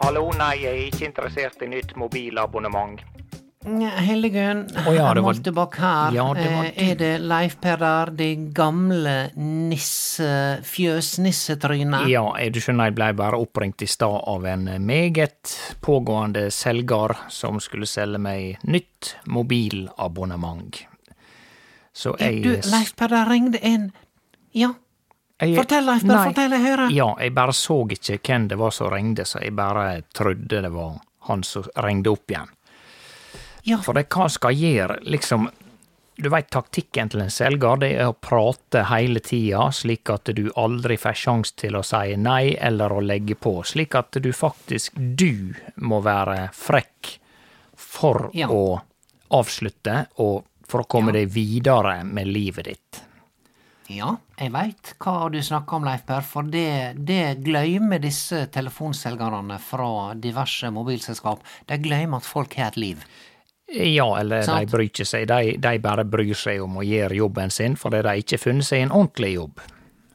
Hallo, nei, jeg er ikke interessert i nytt mobilabonnement. Ja, Hildegunn, Å ja, det var- Moltebakk her. Ja, det var Eh, du. Er det Leif Perrer, det gamle nisse... fjøsnissetrynet? Ja, eh, du skjønner, jeg blei bare oppringt i stad av en meget pågående selger som skulle selge meg nytt mobilabonnement. Så jeg Eh, Du, Leif Perrer ringte inn. Ja, jeg- fortell, Leif Perrer, Nei. fortell, jeg hører. Ja, jeg bare så ikke hvem det var som ringte, så jeg bare trodde det var han som ringte opp igjen. Ja. For det hva skal gjøre, liksom Du veit taktikken til en selger, det er å prate hele tida, slik at du aldri får sjanse til å si nei eller å legge på. Slik at du faktisk, du, må være frekk for Ja. å avslutte og for å komme deg videre med livet ditt. Ja, jeg veit hva du snakker om, Leif Per, for det, det glemmer disse telefonselgerne fra diverse mobilselskap. De glemmer at folk har et liv. Ja, eller Sant. de bryr ikke seg. De, de bare bryr seg om å gjøre jobben sin, fordi de ikke funnet seg en ordentlig jobb.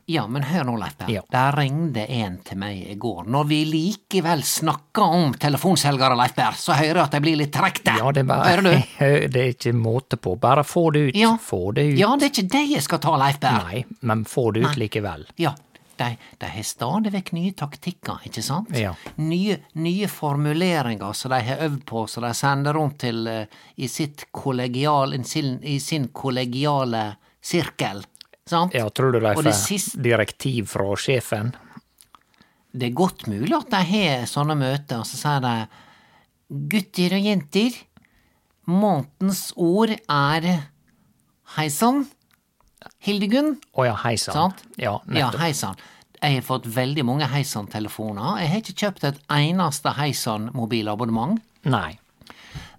Ja, men hør nå, Leif Per. Ja. Der ringte en til meg i går. Når vi likevel snakker om telefonselgere, Leif Per, så hører jeg at jeg blir litt trekte. Ja, det er bare Hører du? Det er ikke måte på. Bare få det ut. Ja. Få det ut. Ja, det er ikke det jeg skal ta, Leif Per. Nei, men få det ut likevel. Ja, de, de har stadig vekk nye taktikker, ikke sant? Ja. Nye, nye formuleringer som de har øvd på, som de sender rundt til eh, i, sitt kollegial, i, sin, i sin kollegiale sirkel. Sant? Ja, tror du de Og får det siste direktiv fra sjefen? Det er godt mulig at de har sånne møter, og så sier de gutter og jenter, månedens ord er hei sann, Hildegunn. Å ja, hei sann. Sant? Ja, Ja, nettopp. hei sann. Jeg har fått veldig mange Heisan-telefoner. Jeg har ikke kjøpt et eneste Heisan-mobilabonnement, Nei.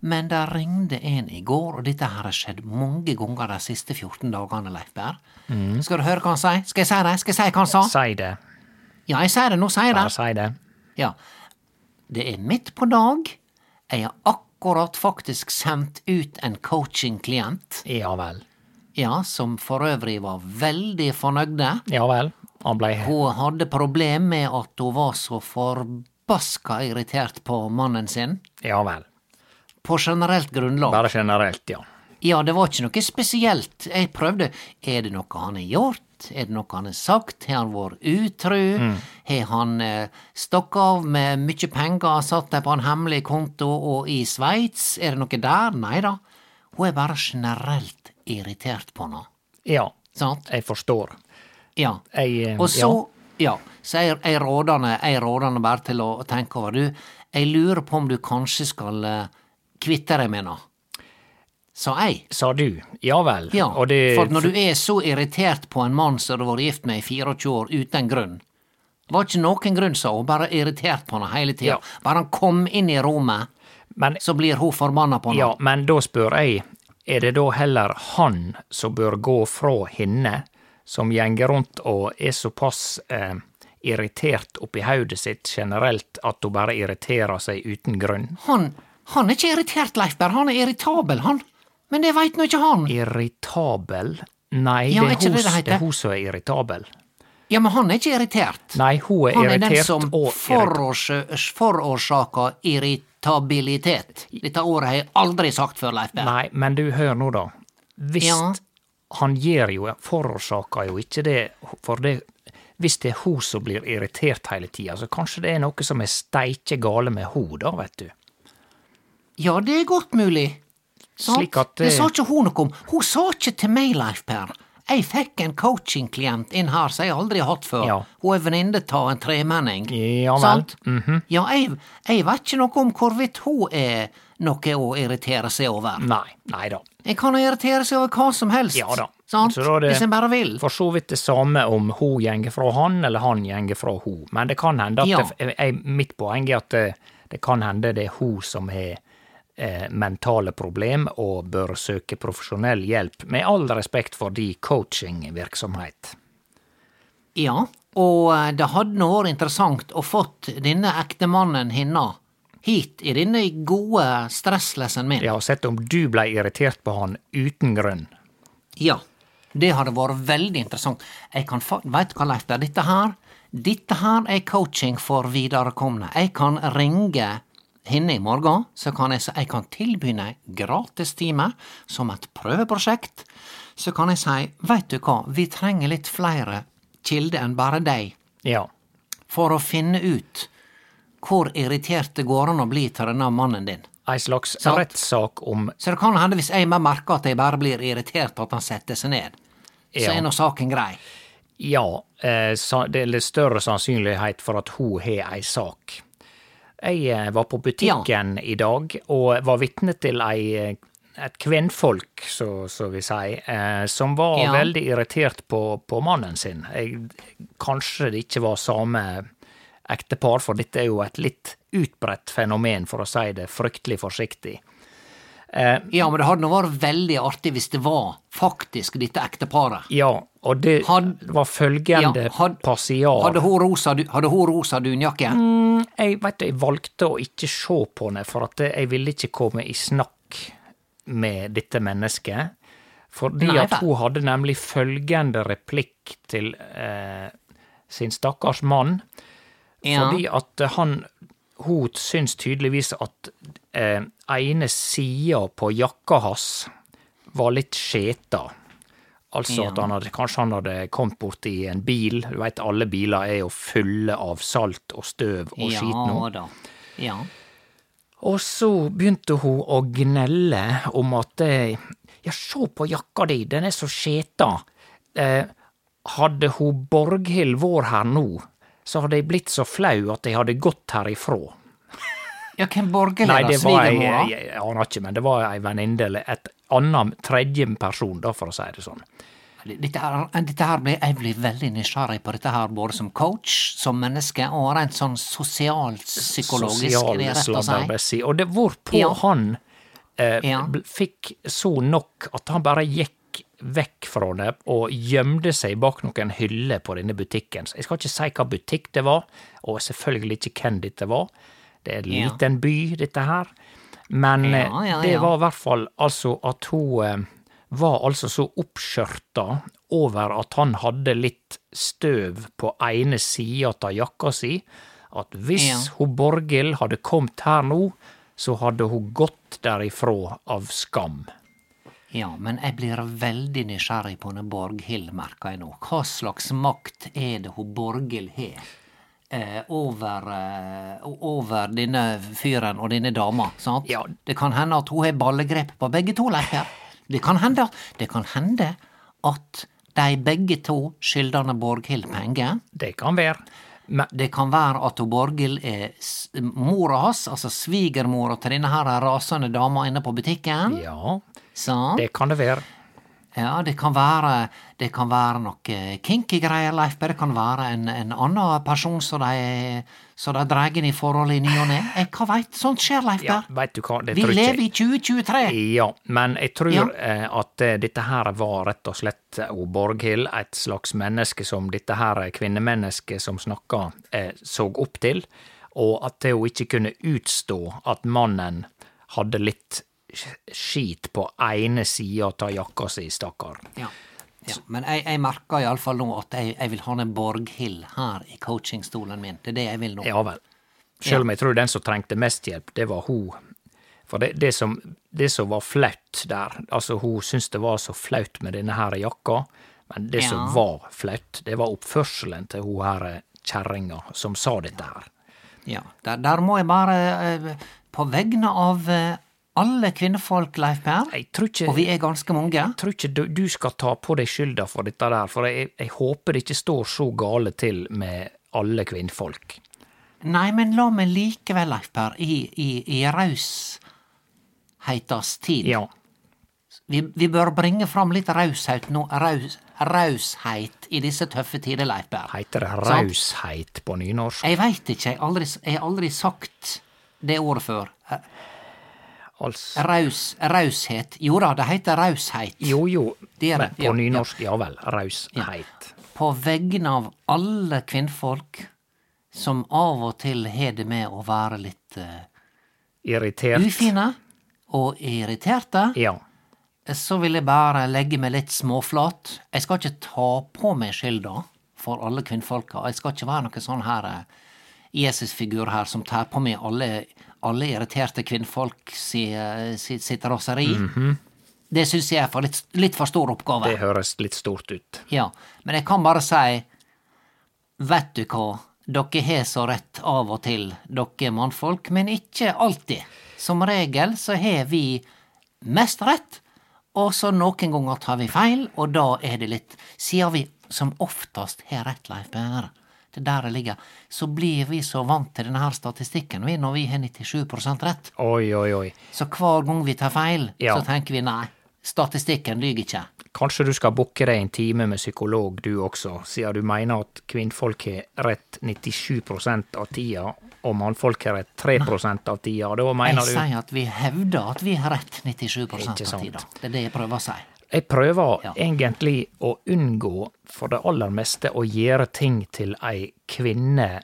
men det ringte en i går, og dette her har skjedd mange ganger de siste 14 dagene, Leif Berr. Skal du høre hva han sier? Skal jeg si det? Skal jeg si hva han sa? Mm. Si det. Ja, jeg sier det. Nå sier jeg det. Bare si det. Ja. Det er midt på dag. Jeg har akkurat faktisk sendt ut en coaching-klient, Ja vel. ja, som for øvrig var veldig fornøyde. Ja vel. Han blei Hun hadde problem med at hun var så forbaska irritert på mannen sin. Ja vel. På generelt grunnlag. Bare generelt, ja. Ja, det var ikke noe spesielt. Jeg prøvde. Er det noe han har gjort? Er det noe han har sagt? Har han vært utru? Mm. Har han eh, stukket av med mye penger, satt dem på en hemmelig konto og i Sveits? Er det noe der? Nei da. Hun er bare generelt irritert på henne. Ja, Sant? jeg forstår. Ja. Jeg eh, Og så, ja. ja, så jeg, jeg råder henne- jeg råder henne bare til å tenke over. Du, jeg lurer på om du kanskje skal eh, kvitte deg med henne. Sa jeg. Sa du. Ja vel. Ja, og det for når du er så irritert på en mann som du har vært gift med i 24 år uten grunn, Det var ikke noen grunn, sa hun, bare irritert på henne hele tida. Ja. Bare han kom inn i rommet, Men, så blir hun forbanna på ja, ham. men da spør jeg, er det da heller han som bør gå fra henne, som gjenger rundt og er såpass eh, irritert oppi hodet sitt generelt at hun bare irriterer seg uten grunn? Han, han er ikke irritert, Leifberg, han er irritabel, han. Men det veit nå ikke han. Irritabel? Nei, Ja, det, er ikke er hun, det det det, heter? er hun som er irritabel. Ja, men han er ikke irritert. Nei, hun er han er den irritert som og irritert. forårs- forårsaker irritabilitet. Dette ordet har jeg aldri sagt før, Leifberg. Nei, men du, hør nå, da. Hvis Ja. han gjør jo Forårsaker jo ikke det, for det Hvis det er hun som blir irritert hele tida, så kanskje det er noe som er steike gale med hun, da, vet du. Ja, det er godt mulig. Sant? Slik at, det eh, sa ikke hun noe om. Hun sa ikke til meg, Leif Per. Jeg fikk en coachingklient inn her som jeg aldri har hatt før. Ja. Hun er venninne av en tremenning. Ja Mhm. vel. Sant? Ja, jeg, jeg vet ikke noe om hvorvidt hun er noe å irritere seg over. Nei. Nei da. En kan irritere seg over hva som helst. Mm. Ja da. Sant? Så da er det- Hvis en bare vil. For så vidt det samme om hun gjenger fra han, eller han gjenger fra hun. Men det kan hende at Ja. det, jeg, Mitt poeng er at det, det kan hende det er hun som har eh, mentale problem og bør søke profesjonell hjelp, med all respekt for de coachingvirksomhet. Ja, og eh, det hadde nå vært interessant å fått denne ektemannen hinna hit i denne gode stresslessen min. Jeg har sett om du ble irritert på han uten grunn. Ja, det hadde vært veldig interessant. Jeg kan fa Veit du hva, Leif, det er dette her Dette her er coaching for viderekomne. Jeg kan ringe henne i morgen, så kan jeg, si- jeg kan tilby henne gratistime som et prøveprosjekt. Så kan jeg si, veit du hva, vi trenger litt flere kilder enn bare deg Ja. for å finne ut hvor irritert det går an å bli til denne mannen din. Ei slags Sant. rettssak om Så det kan hende hvis jeg bare merker at jeg bare blir irritert at han setter seg ned, så Ja. er nå saken grei. Ja, eh, sa- det er litt større sannsynlighet for at hun har ei sak. Jeg eh, var på butikken i dag og var vitne til ei, eh, et kvinnfolk, så, så vi sier, eh, som var Ja. veldig irritert på, på mannen sin. Jeg, kanskje det ikke var samme ektepar, for dette er jo et litt utbredt fenomen, for å si det fryktelig forsiktig. Ja, men det hadde nå vært veldig artig hvis det var faktisk dette ekteparet. Ja, og det Had- var følgende Ja, had- passiar. Hadde hun rosa, du- hadde hun rosa dunjakke? Mm. jeg, vet, du, jeg valgte å ikke se på henne, for at jeg ville ikke komme i snakk med dette mennesket. Fordi Nei, at vel. hun hadde nemlig følgende replikk til eh, sin stakkars mann. Ja. Fordi at han Hun syns tydeligvis at eh, ene sida på jakka hans var litt skjeta. Altså at han hadde, kanskje han hadde kommet borti en bil. Du veit, alle biler er jo fulle av salt og støv og skit nå. ja da. Ja. Og så begynte hun å gnelle om at eh, Ja, se på jakka di, den er så skjeta. Eh, hadde hun Borghild vært her nå, så hadde jeg blitt så flau at jeg hadde gått herifra. ja, hvem borgerlig Nei, er det det? var ei Svigermora? jeg, jeg aner ikke, men det var ei venninne eller et annan tredje person, da, for å si det sånn. Dette her, eh, dette her blir, jeg blir veldig nysgjerrig på dette her, både som coach, som menneske, og rent sånn sosialpsykologisk, er det rett å si. sladderbessi. Og det hvorpå Ja. han Ja. bl- fikk så nok at han bare gikk vekk fra henne og gjemte seg bak noen hyller på denne butikken. Så Jeg skal ikke si hva butikk det var, og selvfølgelig ikke hvem dette var. Det er en Ja. liten by, dette her. Men eh, Ja, ja, det ja. var i hvert fall altså at hun eh, var altså så oppskjørta over at han hadde litt støv på ene sida av jakka si, at hvis Ja. hun Borghild hadde kommet her nå, så hadde hun gått derifra av skam. Ja, men jeg blir veldig nysgjerrig på henne Borghild, merker jeg nå. Hva slags makt er det hun Borghild har eh, over, eh, o- over denne fyren og denne dama? sant? Ja. Det kan hende at hun har ballegrep på begge to, Leif Per. Det kan hende, det kan hende at de begge to skylder henne Borghild penger. Det kan være. Men, Det kan være at hun Borghild er s- mora hans, altså svigermora til denne her rasende dama inne på butikken. ja, Sant? det kan det være. Ja, det kan være, det kan være noe kinky greier, Leif, men det kan være en, en annen person som de, som de drar inn i forhold i ny og ne. Eh, Hva veit, sånt skjer, Leif Ja, Berr. veit du hva, det Vi tror ikke lever i 2023. Ja, men jeg tror Ja. eh, at eh, dette her var rett og slett eh, og Borghild, et slags menneske som dette her eh, kvinnemennesket som snakka, eh, så opp til, og at hun ikke kunne utstå at mannen hadde litt sk- skit på ene sida av jakka si, stakkar. Ja. Ja, men jeg, jeg merker iallfall nå at jeg, jeg vil ha en Borghild her i coachingstolen min. Det er det jeg vil nå. Ja vel. Selv om jeg tror den som trengte mest hjelp, det var hun. For det, det, som, det som var flaut der, altså hun syntes det var så flaut med denne her jakka, men det Ja. som var flaut, det var oppførselen til hun her eh, kjerringa som sa dette her. Ja, der, der må jeg bare, eh, på vegne av eh, alle kvinnefolk, Leif Per, Jeg tror ikke og vi er ganske mange jeg tror ikke du, du skal ta på deg skylda for dette der, for jeg, jeg håper det ikke står så gale til med alle kvinnfolk. Nei, men la meg likevel, Leif Per, i, i, i rausheitens tid Ja, vi, vi bør bringe fram litt raushet nå, raus, rausheit i disse tøffe tider, Leif Per. heter det Sant? Eh, rausheit på nynorsk? Jeg veit ikke, jeg har aldri, jeg har aldri sagt det ordet før. Altså. Raus, raushet. Jo da, det heter rausheit. Jo, jo, Det er men det, på ja, nynorsk, ja vel, rausheit. på vegne av alle kvinnfolk som av og til har det med å være litt eh, Irritert. ufine og irriterte, Ja. så vil jeg bare legge meg litt småflat. Jeg skal ikke ta på meg skylda for alle kvinnfolka. Jeg skal ikke være noen sånn her eh, Jesus-figur her som tar på meg alle, alle irriterte kvinnfolk si, eh, si, sitt raseri. Det syns jeg er for litt, litt for stor oppgave. Det høres litt stort ut. Ja, men jeg kan bare si Vet du hva, dere har så rett av og til, dere mannfolk, men ikke alltid. Som regel så har vi mest rett, og så noen ganger tar vi feil, og da er det litt Siden vi som oftest har rett, Leif Berre, det der det ligger, så blir vi så vant til denne her statistikken vi når vi har 97 rett. Oi, oi, oi. Så hver gang vi tar feil, Ja. så tenker vi nei, statistikken lyver ikke. Kanskje du skal booke deg en time med psykolog du også, siden du mener at kvinnfolk har rett 97 av tida, og mannfolk har rett 3 av tida. Da mener jeg du sier at vi hevder at vi har rett 97 av Ikke sant. tida. Det er det jeg prøver å si. Jeg prøver Ja. egentlig å unngå for det aller meste å gjøre ting til ei kvinne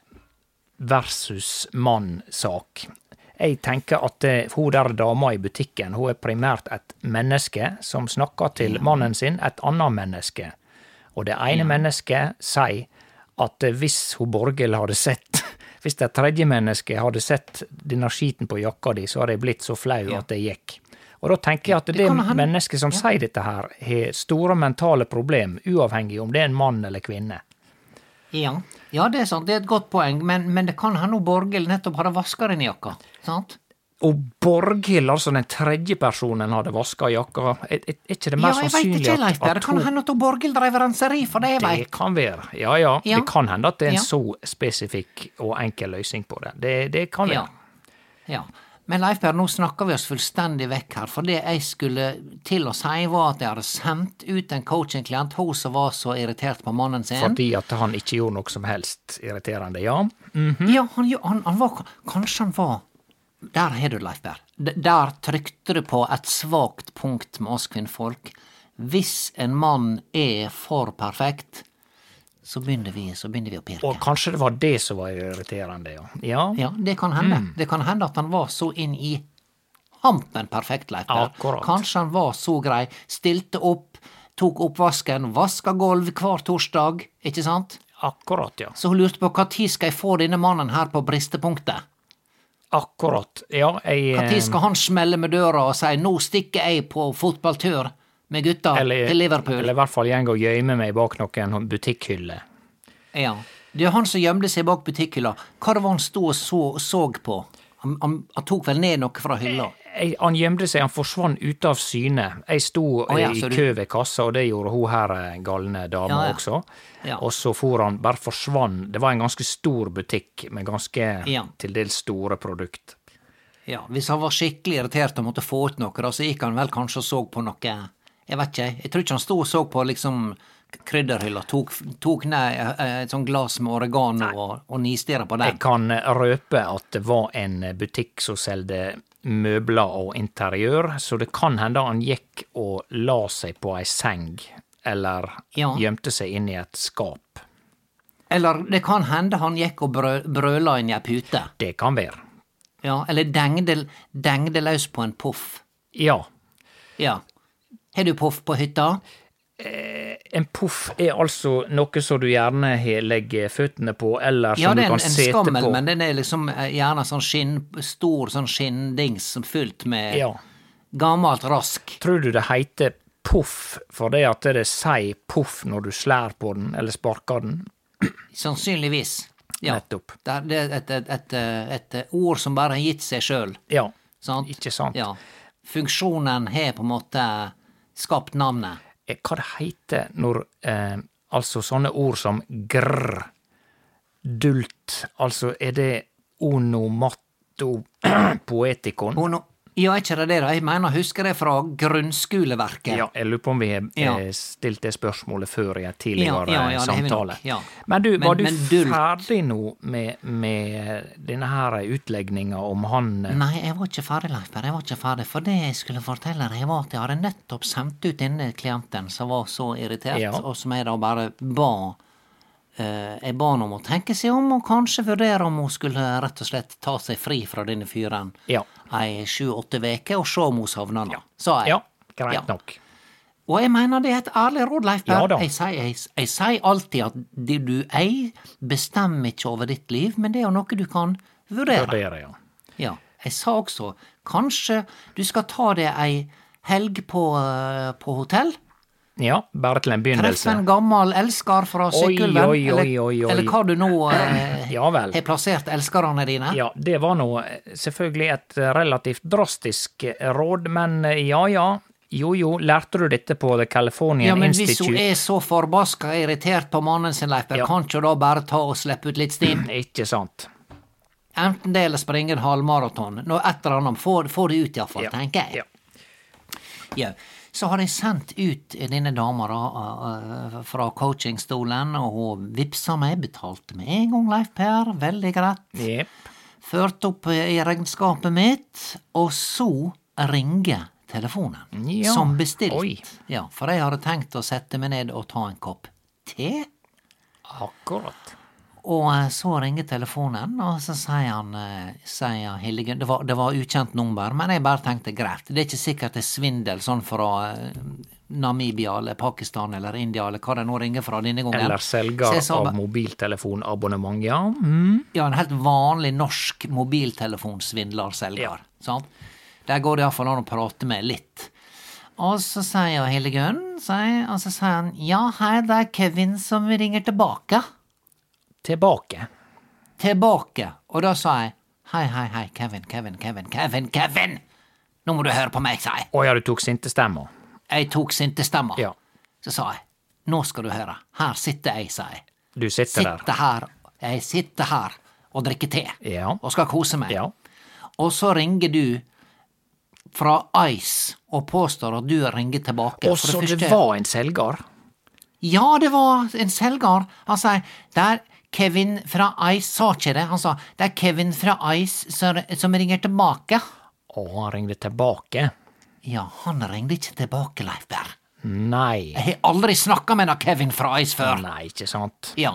versus mann-sak. Jeg tenker at eh, hun der dama i butikken, hun er primært et menneske som snakker til mannen sin, et annet menneske. Og det ene mennesket sier at eh, hvis hun Borghild hadde sett Hvis det tredje mennesket hadde sett denne skiten på jakka di, så hadde jeg blitt så flau at jeg gikk. Og da tenker jeg at det, kan hende. mennesket som sier dette her, har store mentale problem, uavhengig om det er en mann eller kvinne. Ja. ja, det er sant. Det er et godt poeng, men, men det kan hende hun Borghild nettopp hadde vaska den jakka. Sant? Og Borghild, altså den tredje personen, hadde vaska jakka. Er, er, er ikke det Ja, mer jeg veit sannsynlig ikke, Leif. at, Berre. at Det kan hun hende at hun Borghild drev renseri, for det jeg Det veit. kan være. Ja, ja, Ja. Det kan hende at det er en Ja. så spesifikk og enkel løsning på det. Det, det kan være. Ja. ja. Men Leif Per, nå snakker vi oss fullstendig vekk her, for det jeg skulle til å si, var at jeg hadde sendt ut en coachingklient, hun som var så irritert på mannen sin. Fordi at han ikke gjorde noe som helst irriterende, ja. Hmm? Ja, han, jo- han, han var Kanskje han var Der har du det, Leif Berr. D- Der trykte du på et svakt punkt med oss kvinnfolk. Hvis en mann er for perfekt, så begynner vi, så begynner vi å pirke. Og kanskje det var det som var irriterende, ja. Ja, Ja, det kan hende. Hmm. Det kan hende at han var så inn i hampen perfekt, Leif Berr. Akkurat. Kanskje han var så grei, stilte opp, tok oppvasken, vaska gulv hver torsdag, ikke sant? akkurat, ja. Så hun lurte på når skal jeg få denne mannen her på bristepunktet? Akkurat. Ja, jeg Når eh, skal han smelle med døra og si 'nå stikker jeg på fotballtur med gutta eller, til Liverpool'? Eller i hvert fall gjeng og gjemme meg bak noen butikkhyller. Ja. Det er han som gjemte seg bak butikkhylla. Hva det var han sto og så, så på? Han, han, han tok vel ned noe fra hylla? Jeg, han gjemte seg, han forsvant ute av syne. Jeg sto Å ja, eh, i så du- kø ved kassa, og det gjorde hun her eh, galne dama Ja, ja. også. Ja. Og så for han, bare forsvant. Det var en ganske stor butikk med ganske Ja. til dels store produkt. Ja, Hvis han var skikkelig irritert og måtte få ut noe, da, så gikk han vel kanskje og så på noe Jeg vet ikke, jeg. Jeg tror ikke han sto og så på liksom krydderhylla, tok, tok ned eh, et sånt glass med oregano og, og nistirra på Jeg den. kan eh, røpe at det var en eh, butikk som solgte møbler og interiør, så det kan hende han gikk og la seg på ei seng, eller Ja. gjemte seg inn i et skap. Eller det kan hende han gikk og brø, brøla inn i ei pute. Det kan være. Ja, eller dengde, dengde løs på en poff. Ja. Ja. Har du poff på hytta? En poff er altså noe som du gjerne he- legger føttene på, eller som Ja, det er du en, kan en sete på. skammel, men den er liksom eh, gjerne sånn skinn, stor sånn skinndings som fylt med Ja. gammelt rask. Tror du det heter poff fordi at det sier poff når du slær på den, eller sparker den? Sannsynligvis. Ja. Nettopp. Det er- det er et, et, et, eh, et eh, ord som bare har gitt seg sjøl. Ja. Sant? Ikke sant? Ja. Funksjonen har på en måte skapt navnet. Eh, Hva det heter når eh, Altså sånne ord som grr, dult Altså, er det onomatopoetikon? Og nå, ja, er ikke det det, da? Jeg mener, husker det fra grunnskoleverket. Ja, jeg lurer på om vi har Ja. eh, stilt det spørsmålet før i en tidligere Ja, ja, ja, det har vi nok, samtale. ja. Men du, Men- var du men dult- ferdig nå med, med denne her utlegninga om han eh, Nei, jeg var ikke ferdig, Leif Berr. Jeg var ikke ferdig. For det jeg skulle fortelle deg, var at jeg hadde nettopp sendt ut denne klienten som var så irritert, Ja. og som jeg da bare ba eh, Jeg ba henne om å tenke seg om, og kanskje vurdere om hun skulle rett og slett ta seg fri fra denne fyren Ja. ei sju-åtte veker, og se om hun savna ham, sa jeg. Ja, greit Ja. nok. Og jeg mener det er et ærlig råd, Leif Ja Berr. da. jeg, sier- jeg, jeg sier alltid at det du eier, bestemmer ikke over ditt liv, men det er jo noe du kan vurdere. Vurderer, ja. Ja. Jeg sa også kanskje du skal ta deg ei helg på, eh, på hotell. Ja, bare til en Treffe begynnelse. en gammel elsker fra Sykkylven. oi, eller- oi, oi, oi. Eller hva du nå eh, Ja vel. har plassert elskerne dine. Ja, det var nå eh, selvfølgelig et eh, relativt drastisk eh, råd, men ja ja. Jo jo, lærte du dette på The Californian Ja, men hvis hun Institute? er så forbaska irritert på mannen sin, Leif, Berr, Ja. kan ikke hun da bare ta og slippe ut litt stim? Ikke sant. Enten det eller springe en halvmaraton. Noe et eller annet. Få, få det ut, iallfall, Ja, tenker jeg. ja. Ja. Så har jeg sendt ut denne dama da, eh, fra coachingstolen, og hun vippsa meg, betalte med en gang, Leif Per, veldig greit. Jepp. Førte opp i regnskapet mitt, og så ringer telefonen. Ja. Som bestilt. Oi. Ja, for jeg hadde tenkt å sette meg ned og ta en kopp te. Akkurat. Og eh, så ringer telefonen, og så sier han, eh, sier Hildegunn det, var- det var ukjent nummer, men jeg bare tenkte greit. Det er ikke sikkert det er svindel sånn fra eh, Namibia eller Pakistan eller India eller hva det nå ringer fra denne gangen. Eller Så selger jeg sa av bare- mobiltelefonabonnement, ja. Mm. Ja, en helt vanlig norsk mobiltelefonsvindlerselger. Ja. Sant? Der går det iallfall an å prate med litt. Og så sier Hildegunn, sier- og så sier han ja, hei, det er Kevin som ringer tilbake. Tilbake. tilbake. Og da sa jeg hei, hei, hei, Kevin, Kevin, Kevin, Kevin, Kevin! Nå må du høre på meg, sa jeg. Å ja, du tok sintestemma. Jeg tok sinte stemmer. Ja. Så sa jeg, nå skal du høre, her sitter jeg, sa jeg. Du sitter der. Sitter her, jeg sitter her og drikker te. Ja. Og skal kose meg. Ja. Og så ringer du fra Ice og påstår at du ringer tilbake. Og For så det første- var en selger. Ja, det var en selger. Han sa det er Kevin fra Ice sa ikke det. Han sa det er Kevin fra Ice som, som ringer tilbake. Og han ringte tilbake. Ja, han ringte ikke tilbake, Leif Berr. Nei. Jeg har aldri snakka med noen Kevin fra Ice før. Nei, ikke sant. Ja.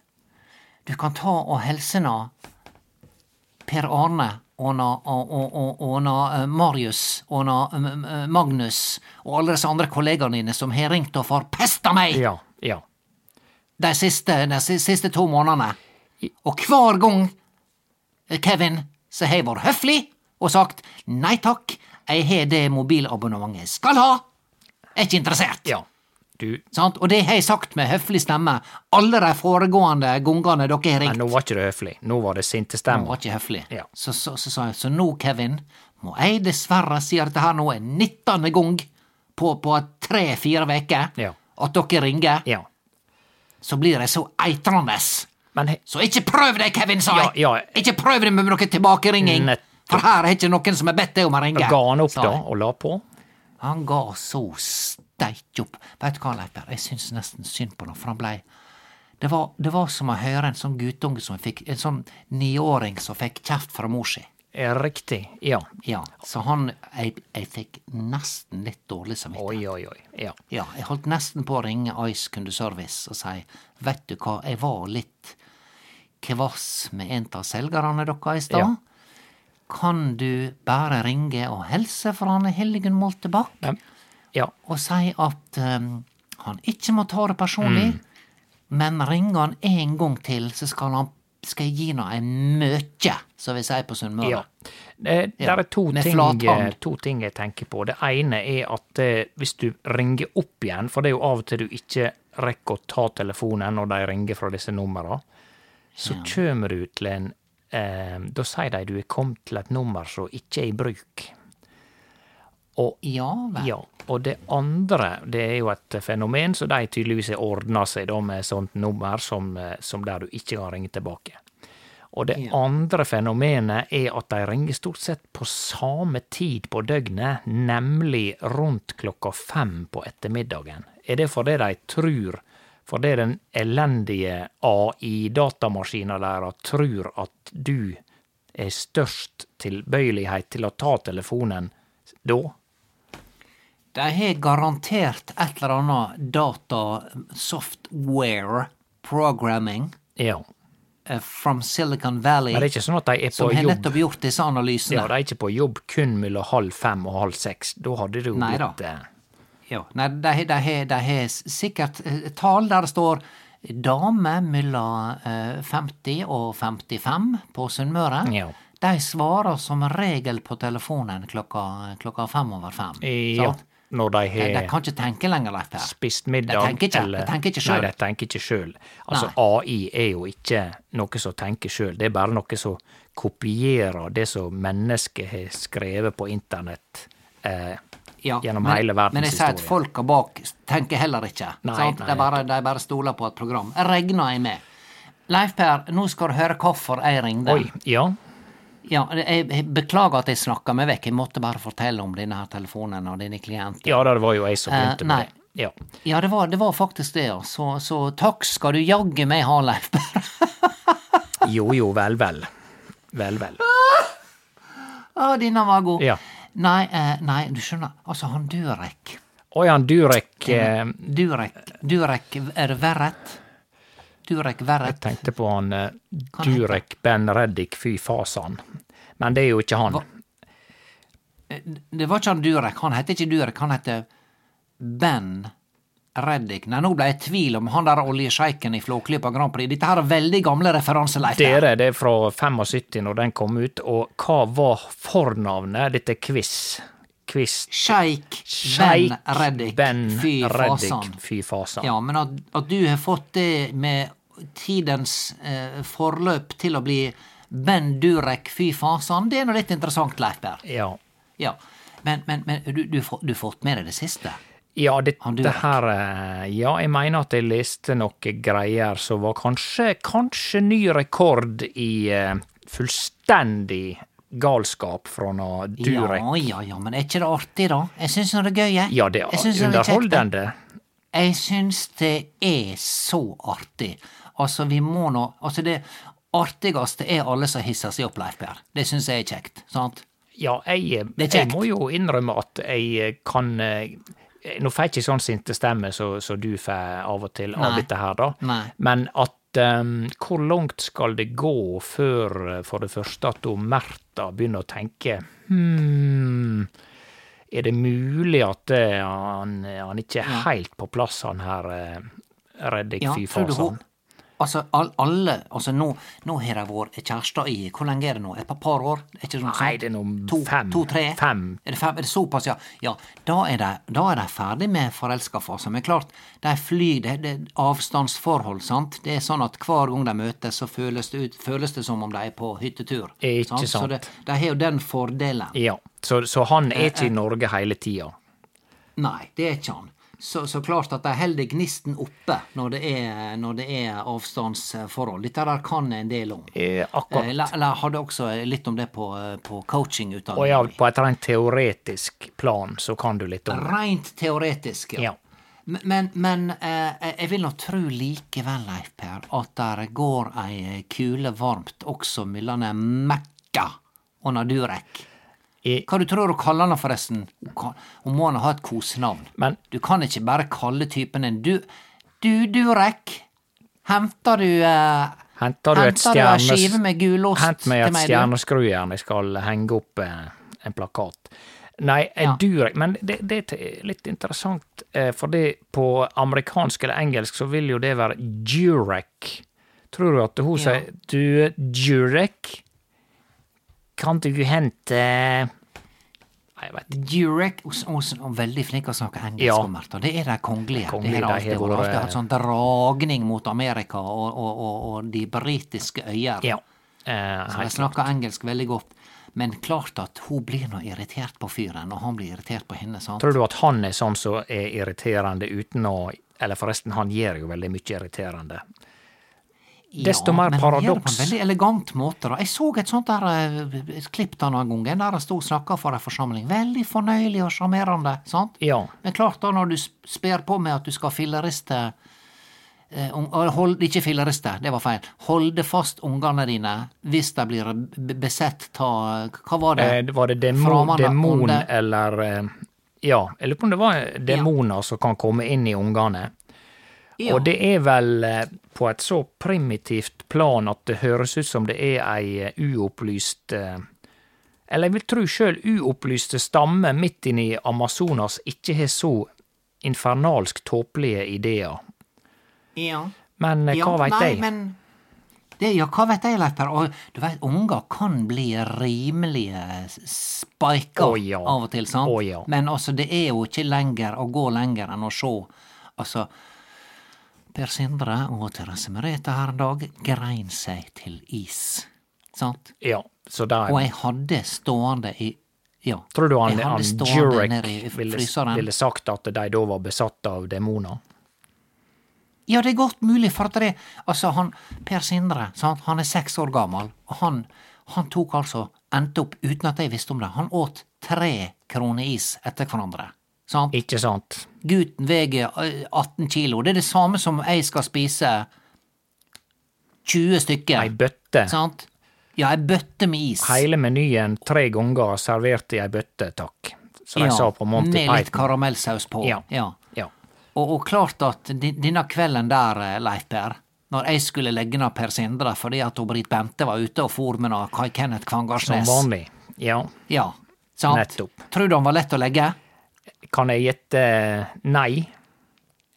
Du kan ta og helse nå Per Arne og nå, og, og, og, og nå eh, Marius og nå eh, eh, Magnus og alle disse andre kollegaene dine som har ringt og forpesta meg Ja, ja. de, siste, de si- siste to månedene. Og hver gang, eh, Kevin, så har jeg vært høflig og sagt nei takk, jeg har det mobilabonnementet jeg skal ha, er ikke interessert. ja. Du, Sant? Og det har jeg sagt med høflig stemme alle de foregående gangene dere har nei, ringt. nå var ikke det høflig. Nå var det sinte Det stemmer. var ikke høflig. Ja. Så, så, så sa jeg så nå, Kevin, må jeg dessverre si at dette her nå er 19. gang på, på tre-fire uker Ja. at dere ringer, Ja. så blir jeg så eitrende. Men he, Så ikke prøv det, Kevin, sa jeg! Ja, ja. Ikke prøv det med noe tilbakeringing, Nettopp. for her er ikke noen som har bedt deg om å ringe. ga han opp sa da jeg. og la på? Han ga så steik opp. Veit du hva, Leif Per, jeg syns nesten synd på han, for han blei det var, det var som å høre en sånn guttunge som fikk En sånn niåring som fikk kjeft fra mor si. Ja, Riktig. Ja. Ja, så han Jeg, jeg fikk nesten litt dårlig samvittighet. Oi, oi, oi. Ja. Ja, jeg holdt nesten på å ringe Ice kundeservice og si veit du hva, jeg var litt kvass med en av selgerne dere i stad. Ja. Kan du bare ringe og helse fra Anne Hildegunn Moltebakk? Nei, ja. og si at ehm, han ikke må ta det Mm. personlig, men ringer han en gang til, så skal, han, skal jeg gi han ei møkje, som vi sier på Sunnmøre. Ja. Eh, Ja. Der er to Med ting, flat eh, hånd. to ting jeg tenker på. Det ene er at eh, hvis du ringer opp igjen, for det er jo av og til du ikke rekker å ta telefonen når de ringer fra disse numrene, så kommer du til en eh, Da sier de du er kommet til et nummer som ikke er i bruk. Og, Ja vel. ja, og det andre, det er jo et fenomen som de tydeligvis har ordna seg da med sånt nummer som, eh, som der du ikke kan ringe tilbake. Og det andre fenomenet er at de ringer stort sett på samme tid på døgnet, nemlig rundt klokka fem på ettermiddagen. Er det fordi de tror, fordi den elendige AI-datamaskina deres tror at du er størst tilbøyelighet til å ta telefonen da? De har garantert et eller annet data software programming Ja. eh, from Silicon Valley Men det er ikke sånn at de er på som har jobb. nettopp gjort disse Ja, analysene. de er ikke på jobb kun mellom halv fem og halv seks. Da hadde det jo Nei da. blitt eh, Ja, nei, de har- de har de har s- sikkert eh, tall der det står dame mellom eh, 50 og 55 på Sunnmøre. Ja. De svarer som regel på telefonen klokka, klokka fem over fem. Ja, sant? når de De, har de kan ikke tenke lenger, Leif Per. spist middag. De tenker ikke, eller- de tenker ikke Nei, sjøl. de tenker ikke sjøl. Altså, AI er jo ikke noe som tenker sjøl, det er bare noe som kopierer det som mennesket har skrevet på internett eh, gjennom hele Men jeg sier verdenshistorien. at folka bak s- tenker heller ikke. Nei, sant? nei. de, bare, de bare stoler på et program. Regner jeg med. Leif Per, nå skal du høre hvorfor jeg ringte. Oi, ja. Ja, jeg jeg beklager at jeg snakka meg vekk. Jeg måtte bare fortelle om denne her telefonen og denne klienten. ja da, det var jo jeg som Eh, begynte nei. med det. Ja. Ja, det var, det var faktisk det, ja. Så, så takk skal du jaggu meg ha, Leif Berr. Jo jo, vel vel. Vel vel. Å, denne var god. Ja. Nei, eh, nei, du skjønner, altså han Durek Oi, han Durek eh, Durek Durek er det Verret? Durek Verret. tenkte på han eh, Hva heter Durek Ben Reddik, fy fasan. Men det er jo ikke han. Det var ikke han Durek. Han heter ikke Durek, han heter Ben Reddik. Nei, nå ble jeg i tvil om han der oljesjeiken i Flåklypa Grand Prix. Dette her er veldig gamle referanser, Leif Berr. Dere, det er fra 75 når den kom ut, og hva var fornavnet? Dette er quiz. Quiz. Sjeik Ben Sheikh Reddik. Ben Fy Reddik. fasan. Fy fasan. Ja, men at, at du har fått det med tidens eh, forløp til å bli Ben Durek, fy fasan, det er nå litt interessant, Leif Berr. Ja. Ja. Men, men, men du, du, får- du har fått med deg det siste? Ja, det, Han Durek. det her eh, Ja, jeg mener at jeg leste noe greier som var kanskje, kanskje ny rekord i eh, fullstendig galskap fra nå Durek. Ja, ja, ja, men er ikke det artig, da? Jeg syns nå det er gøy, jeg. Ja, det Jeg er syns nå det er kjekt, jeg. underholdende. Jeg syns det er så artig Altså, vi må nå Altså, det artigste er alle som hisser seg opp, Leif Per. Det syns jeg er kjekt, sant? Ja, jeg, eh, Det er jeg kjekt. må jo innrømme at jeg kan eh, Nå får jeg ikke sånn sinte stemme som så, du får av og til av Nei. dette her, da. Nei. Men at eh, hvor langt skal det gå før eh, for det første at hun Märtha begynner å tenke Hm, er det mulig at eh, han, han ikke er helt på plass, han her eh, Reddik Ja, fy tror du hun- fasan? Altså, all, alle Altså, nå, nå har de vært kjærester i Hvor lenge er det nå? Et par, par år? Er ikke det noe Nei, sånt? det er noe To, fem. to, tre? Fem. Er det, fem? er det såpass, ja? Ja, da er de, da er de ferdig med forelskerfasen. Men klart, de flyr, det, det er avstandsforhold, sant? Det er sånn at hver gang de møtes, så føles det, ut, føles det som om de er på hyttetur. Ikke sant. Så det, de har jo den fordelen. Ja, så, så han Eh, er ikke i Norge hele tida. Nei, det er ikke han. Så, så klart at de holder gnisten oppe når det er, når det er avstandsforhold. Dette der kan jeg en del om. Eh, akkurat. Eh, la- la- Jeg hadde også litt om det på, eh, på Og ja, coachingutdanningen. på et rent teoretisk plan så kan du litt om det. Rent teoretisk, ja. Ja. Men- Men, men eh, jeg vil nå tro likevel, Leif Per, at der går ei kule varmt også mellom Märtha og Nadurek. I- Hva du tror du kaller henne, forresten? Hun kan- Hun må nå ha et kosenavn. Men- Du kan ikke bare kalle typen en du... Du, Durek, henter du eh, Henter du et ei stjernes- skive med gulost Hent meg til et meg, du? stjerneskrujern, jeg skal henge opp eh, en plakat. Nei, en Ja. durek Men det, det er t- litt interessant, eh, for det på amerikansk eller engelsk så vil jo det være durek. Tror du at hun Ja. sier du, durek, kan du hente Nei, jeg vet ikke. Durek og, og, og veldig flink til å snakke engelsk, Ja. og Märtha. Det er de kongelige. Kongelige, det har de alltid, har vært- vært- alltid hatt sånn dragning mot Amerika og, og, og, og de britiske øyer. Ja. Eh, Så de snakker engelsk veldig godt. Men klart at hun blir nå irritert på fyren, og han blir irritert på henne. sant? Tror du at han er sånn som er irriterende uten å Eller forresten, han gjør jo veldig mye irriterende. desto mer men han gjør det paradoks. på en veldig elegant måte. da. Jeg så et sånt der eh, et klipp da noen ganger, der han sto og snakka for ei forsamling. Veldig fornøyelig og sjarmerende. sant? Ja. Men klart da, når du sp- sper på med at du skal filleriste eh, ung- og hold, Ikke filleriste, det var feil. Holde fast ungene dine hvis de blir b- besett ta Hva var det? Eh, det var det demon, Framanna demon onde. eller eh, Ja, jeg lurer på om det var demoner som kan komme inn i ungene. Ja. Og det er vel eh, på et så primitivt plan at det høres ut som det er ei eh, uopplyst eh, Eller jeg vil tro sjøl uopplyste stammer midt inne i Amazonas ikke har så infernalsk tåpelige ideer. ja. Men eh, hva veit nei, jeg? Men det, ja, hva veit jeg, Leif Per? Og du veit, unger kan bli rimelig spika Å, ja. av og til, sant? Å, ja. Men altså, det er jo ikke lenger å gå lenger enn å se. Altså, Per Sindre og Therese Merete her en dag grein seg til is, sant? Ja, så der Og jeg hadde stående i ja. Tror du han, jeg hadde han stående nede i Jurek ville, fryseren. ville sagt at de da var besatt av demoner? Ja, det er godt mulig, for at det Altså, han Per Sindre, sant? han er seks år gammel, og han, han tok altså Endte opp uten at jeg visste om det. Han åt tre kroner is etter hverandre. Sant? Ikke sant? Gutten veier eh, 18 kilo. Det er det samme som jeg skal spise 20 stykker. Ei bøtte. Sant? Ja, ei bøtte med is. Hele menyen tre ganger servert i ei bøtte, takk. Som de ja, sa på Monty Med litt Python. karamellsaus på. Ja. ja. Ja. Og, og klart at di- denne kvelden der, eh, Leif Per, når jeg skulle legge ned Per Sindre fordi at hun Britt Bente var ute og for med noe Kai Kenneth Som Kvangarsnes vanlig. Ja. Ja, sant? Nettopp. Tror du han var lett å legge? Kan jeg gjette nei?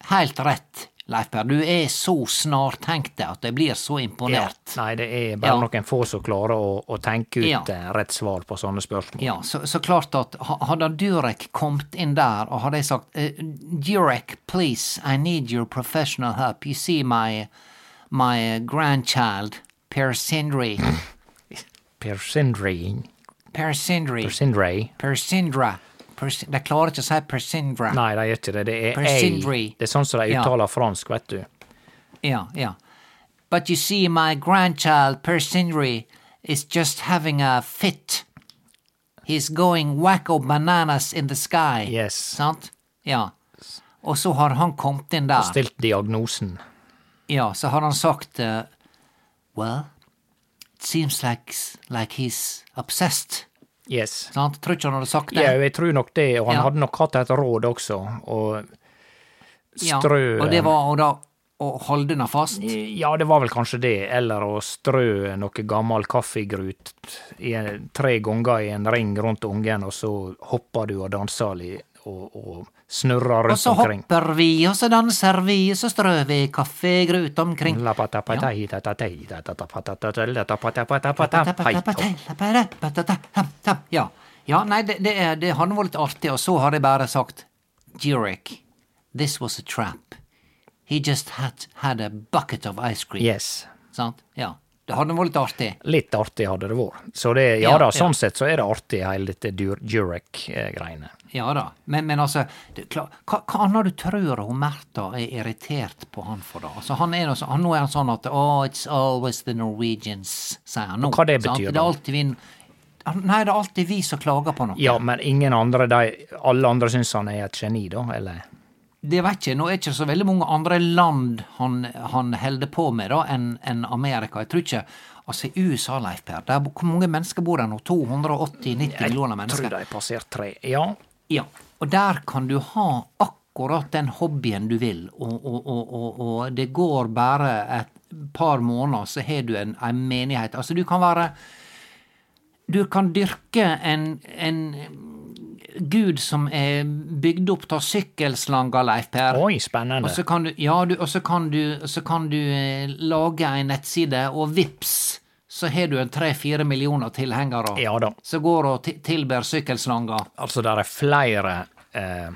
Helt rett, Leif Per. Du er så snartenkt at jeg blir så imponert. Nei, det er bare Ja. noen få som klarer å, å tenke ut Ja. eh, rett svar på sånne spørsmål. Ja, så, så klart at ha- hadde Durek kommet inn der, og hadde jeg sagt eh, Durek, please, I need your professional help. You see my, my grandchild, Per Sindre. Persindre Per Sindre. Persindre Persindra. Pers de klarer ikke å si Persindra. Nei, de gjør ikke det. Det er ei. Persindre. Det er sånn som de Ja. uttaler fransk, vet du. Ja, ja. But you see, my grandchild, Persindri, is just having a fit. He's going wacko bananas in the sky. Yes. Sant? Ja. Og så har han kommet inn der. Stilt diagnosen. Ja, så har han sagt eh, Well, it seems like, like he's obsessed. Yes. Sant? Tror ikke han hadde sagt det. Ja, jeg tror nok det, og han Ja. hadde nok hatt et råd også, og Ja, strø Og det var å da å holde henne fast. Ja, det var vel kanskje det, eller å strø noe gammel kaffegrut i en, tre ganger i en ring rundt ungen, og så hopper du og danser litt, og, og snurrer Og rundt så omkring. hopper vi, og så danser vi, og så strør vi kaffegrut omkring. Ja. ja, nei, det, det, er- det hadde vært litt artig, og så har jeg bare sagt Jurek, this was a trap. He just had, had a bucket of ice cream. Yes. Sant? Ja. Det hadde vært litt artig. Litt artig hadde det vært. Så det, ja Ja, da, ja. sånn sett så er det artig, hele dette Dur- eh, Durek-greiene. Ja da. Men, men altså, det, er klart- hva, hva annet du tror hun Märtha er irritert på han for, da? Altså, han er noe, så- han, nå er han sånn at oh, it's always the Norwegians, sier han nå. Hva det sant? betyr Det er da? alltid vi, han- nei, det er alltid vi som klager på noe. Ja, men ingen andre, de, alle andre syns han er et geni, da, eller? Det vet ikke, nå er ikke så veldig mange andre land han, han holder på med da, enn enn Amerika. Jeg tror ikke Altså, i USA, Leif Per, der, bo- hvor mange mennesker bor der nå? 280-90 millioner mennesker? Tror de passerte tre. Ja. Ja, og der kan du ha akkurat den hobbyen du vil, og, og, og, og, og det går bare et par måneder, så har du en, en menighet. Altså, du kan være Du kan dyrke en, en gud som er bygd opp av sykkelslanger, Leif Per. Oi, Og spennende. så kan du, ja, du, og så kan du, så kan du eh, lage ei nettside, og vips, så har du en tre-fire millioner tilhengere Ja da. som går og ti- tilber sykkelslanger. Altså, der er flere eh,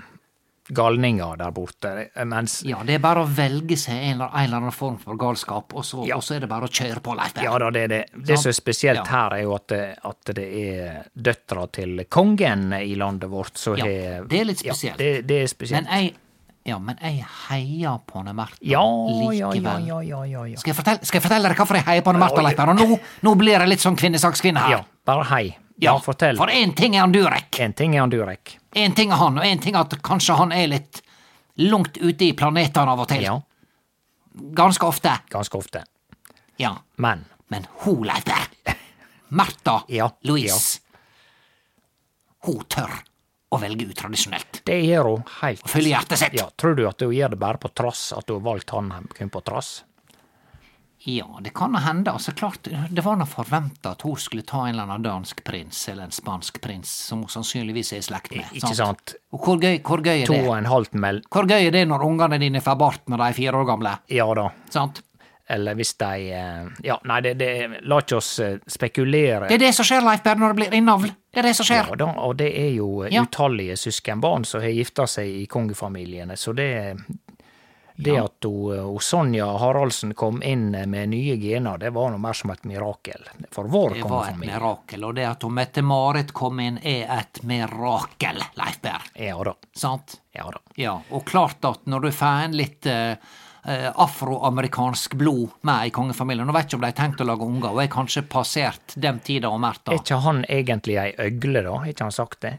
galninger der borte, eh, mens Ja, det er bare å velge seg en eller, en eller annen form for galskap, og så, Ja. og så er det bare å kjøre på, Leif. Ja da, det er det. Det som er spesielt Ja. her, er jo at det, at det er døtra til kongen i landet vårt som Ja, har det er litt spesielt. Ja, det, det er spesielt. men jeg, ja, men jeg heier på Anne Märtha ja, ja, likevel. ja, ja, ja, ja, ja. Skal, jeg fortelle, skal jeg fortelle dere hvorfor jeg heier på Anne Märtha, Leif? Og nå, nå blir jeg litt sånn kvinnesakskvinne her. Ja, bare hei. Ja, fortell. For én ting er han Durek. En ting er han Durek. Én ting er han, og én ting er at kanskje han er litt langt ute i planetene av og til. Ja, Ganske ofte. ganske ofte. Ja. Men Men hun, Leif Per, Märtha Ja, Louise, hun tør å velge utradisjonelt. det gjør hun helt Å følge hjertet sitt. Ja, Tror du at hun gjør det bare på trass, at hun har valgt han kun på trass? Ja, det kan nå hende. Altså, klart, det var nå forventa at hun skulle ta en eller annen dansk prins eller en spansk prins, som hun sannsynligvis er i slekt med. Ikke sant? Og hvor gøy, hvor gøy er To eh, det? og en halv mel... Hvor gøy er det når ungene dine får bart når de er fire år gamle? Ja da. Sant? Eller hvis de eh, Ja, nei, det, det La ikke oss eh, spekulere. Det er det som skjer, Leif Berr, når det blir innavl. Det er det som skjer. Ja da, og det er jo Ja. utallige søskenbarn som har gifta seg i kongefamiliene, så det det at hun, eh, hun Sonja Haraldsen kom inn med nye gener, det var noe mer som et mirakel for vår Det var et kongefamilie. mirakel, og det at hun Mette-Marit kom inn, er et mirakel, Leif Berr. Ja da. Sant? Ja da. Ja, og klart at når du får inn litt eh, eh, afroamerikansk blod med i kongefamilien Nå vet jeg ikke om de har tenkt å lage unger, og er kanskje passert den tida og Märtha. Er ikke han egentlig ei øgle, da? Har ikke han sagt det?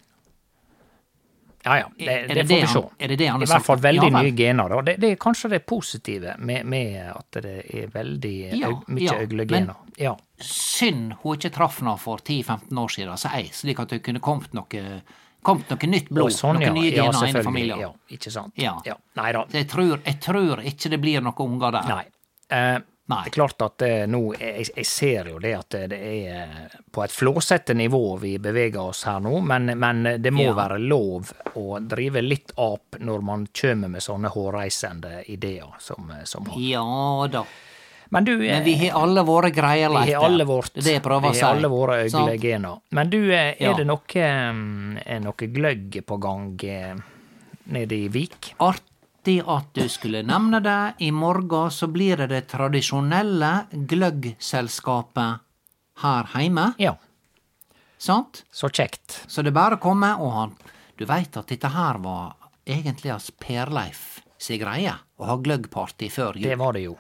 Ja ja, det, Er det, det det får vi han- se. er det det han har I hvert fall sagt? Ja veldig vel. nye gener, da. Det, det er kanskje det positive med, med at det er veldig eh, Ja, øg- mye ja, men- øglegener. Ja. Synd hun ikke traff henne for 10-15 år siden, så jeg, slik at det kunne kommet noe, kommet noe nytt blod. Og sånn, ja. noen nye Ja, gener inn i selvfølgelig. familien. Ja, ikke sant. Ja. Nei da. Så Jeg, tror, jeg tror ikke det blir noen unger der. Nei. Eh, Nei. Det er klart at eh, nå jeg, jeg ser jo det at det er eh, på et flåsete nivå vi beveger oss her nå, men, men det må Ja. være lov å drive litt ap når man kommer med sånne hårreisende ideer som, som han. Ja da. Men du, eh, Men vi har alle våre greier, Leif. vi har alle vårt Det er det jeg prøver å vi si. har alle våre Sant? øgle gener. Men du, eh, er Ja. det noe, eh, er noe gløgg på gang eh, nede i Vik? Artig at du skulle nevne det. I morgen så blir det det tradisjonelle gløggselskapet her hjemme. Ja, Sant? så kjekt. Så det er bare å komme, og han Du veit at dette her var egentlig hans Per-Leif si greie, å ha gløggparty før Det jul. var det jo.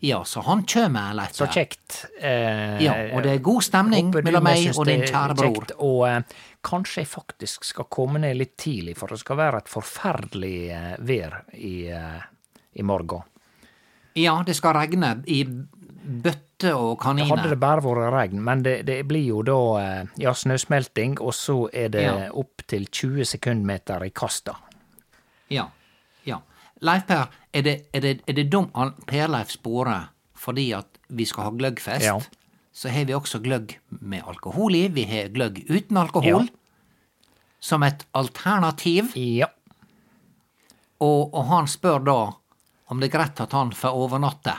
Ja, så han kjem, Leif. Så kjekt. Eh, Ja, og det er god stemning Håper du mellom meg synes og det din er kjære bror. kjekt, Og eh, kanskje jeg faktisk skal komme ned litt tidlig, for det skal være et forferdelig eh, vær i, eh, i morgen. Ja, det skal regne i bøtter og Hadde kaniner. det bare vært regn, men det, det blir jo da eh, ja, snøsmelting, og så er det Ja. opptil 20 sekundmeter i kasta. Ja. ja. Leif Per, er det, er det, er det dum han Per-Leif sporer fordi at vi skal ha gløggfest? Ja. Så har vi også gløgg med alkohol i. Vi har gløgg uten alkohol. Ja. Som et alternativ. Ja. Og, og han spør da om det er greit at han får overnatte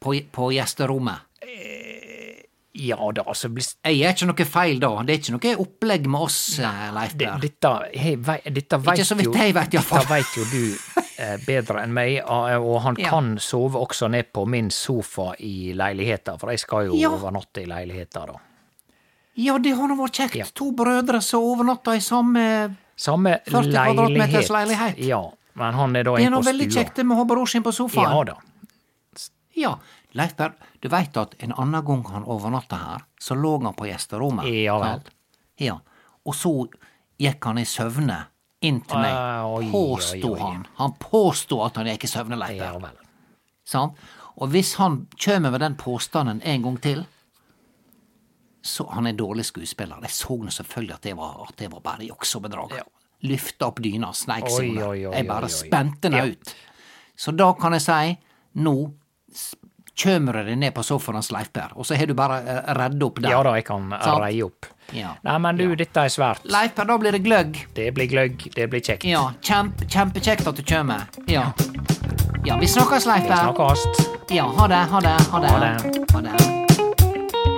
på, på gjesterommet. Ja da, altså blir- Jeg gjør ikke noe feil da. Det er ikke noe opplegg med oss, eh, Leif det, Per. Dette, hei, vei, dette vet Ikke så vidt jo, jeg vet, i hvert fall. Dette vet jo du eh, bedre enn meg, og og han Ja. kan sove også ned på min sofa i leiligheta, for jeg skal jo Ja. overnatte i leiligheta, da. Ja, det har nå vært kjekt. To brødre som overnatta i samme Samme 40 kvadratmeters leilighet. Ja, men han er da Det er inne nå på veldig stua. kjekt det med å ha bror sin på sofaen. Ja da. Ja. Leif Per, du veit at en annen gang han overnatta her, så lå han på gjesterommet. Ja vel. sant? Ja. Og så gikk han i søvne inn til meg. Ah, oi, påsto oi, oi. han. Han påsto at han gikk i søvne, Leif Ja Per. vel. Sant? Og hvis han kommer med den påstanden en gang til så Han er en dårlig skuespiller. Jeg så nå selvfølgelig at det var, at det var bare juks og bedrag. Lyfta opp dyna, sneik seg Oi, under. oi, oi, Jeg oi, bare oi. spente den ut. Så da kan jeg si nå s- kjømer du deg ned på sofaen hans, Leif Per, og så har du bare eh, redd opp der. Ja da, jeg kan Sant? reie opp. Ja. Nei, men du, dette er svært. Leif Per, da blir det gløgg. Det blir gløgg, det blir kjekt. Ja, kjempe, kjempekjekt at du kommer. Ja. ja. Vi snakkes, Leif Per. Snakkast. Ja, ha det, ha det, ha det. Ha det. Ha det.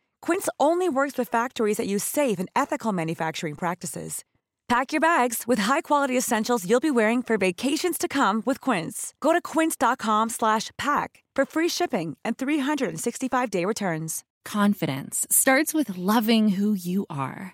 Quince only works with factories that use safe and ethical manufacturing practices. Pack your bags with high-quality essentials you'll be wearing for vacations to come with Quince. Go to quince.com/pack for free shipping and 365-day returns. Confidence starts with loving who you are.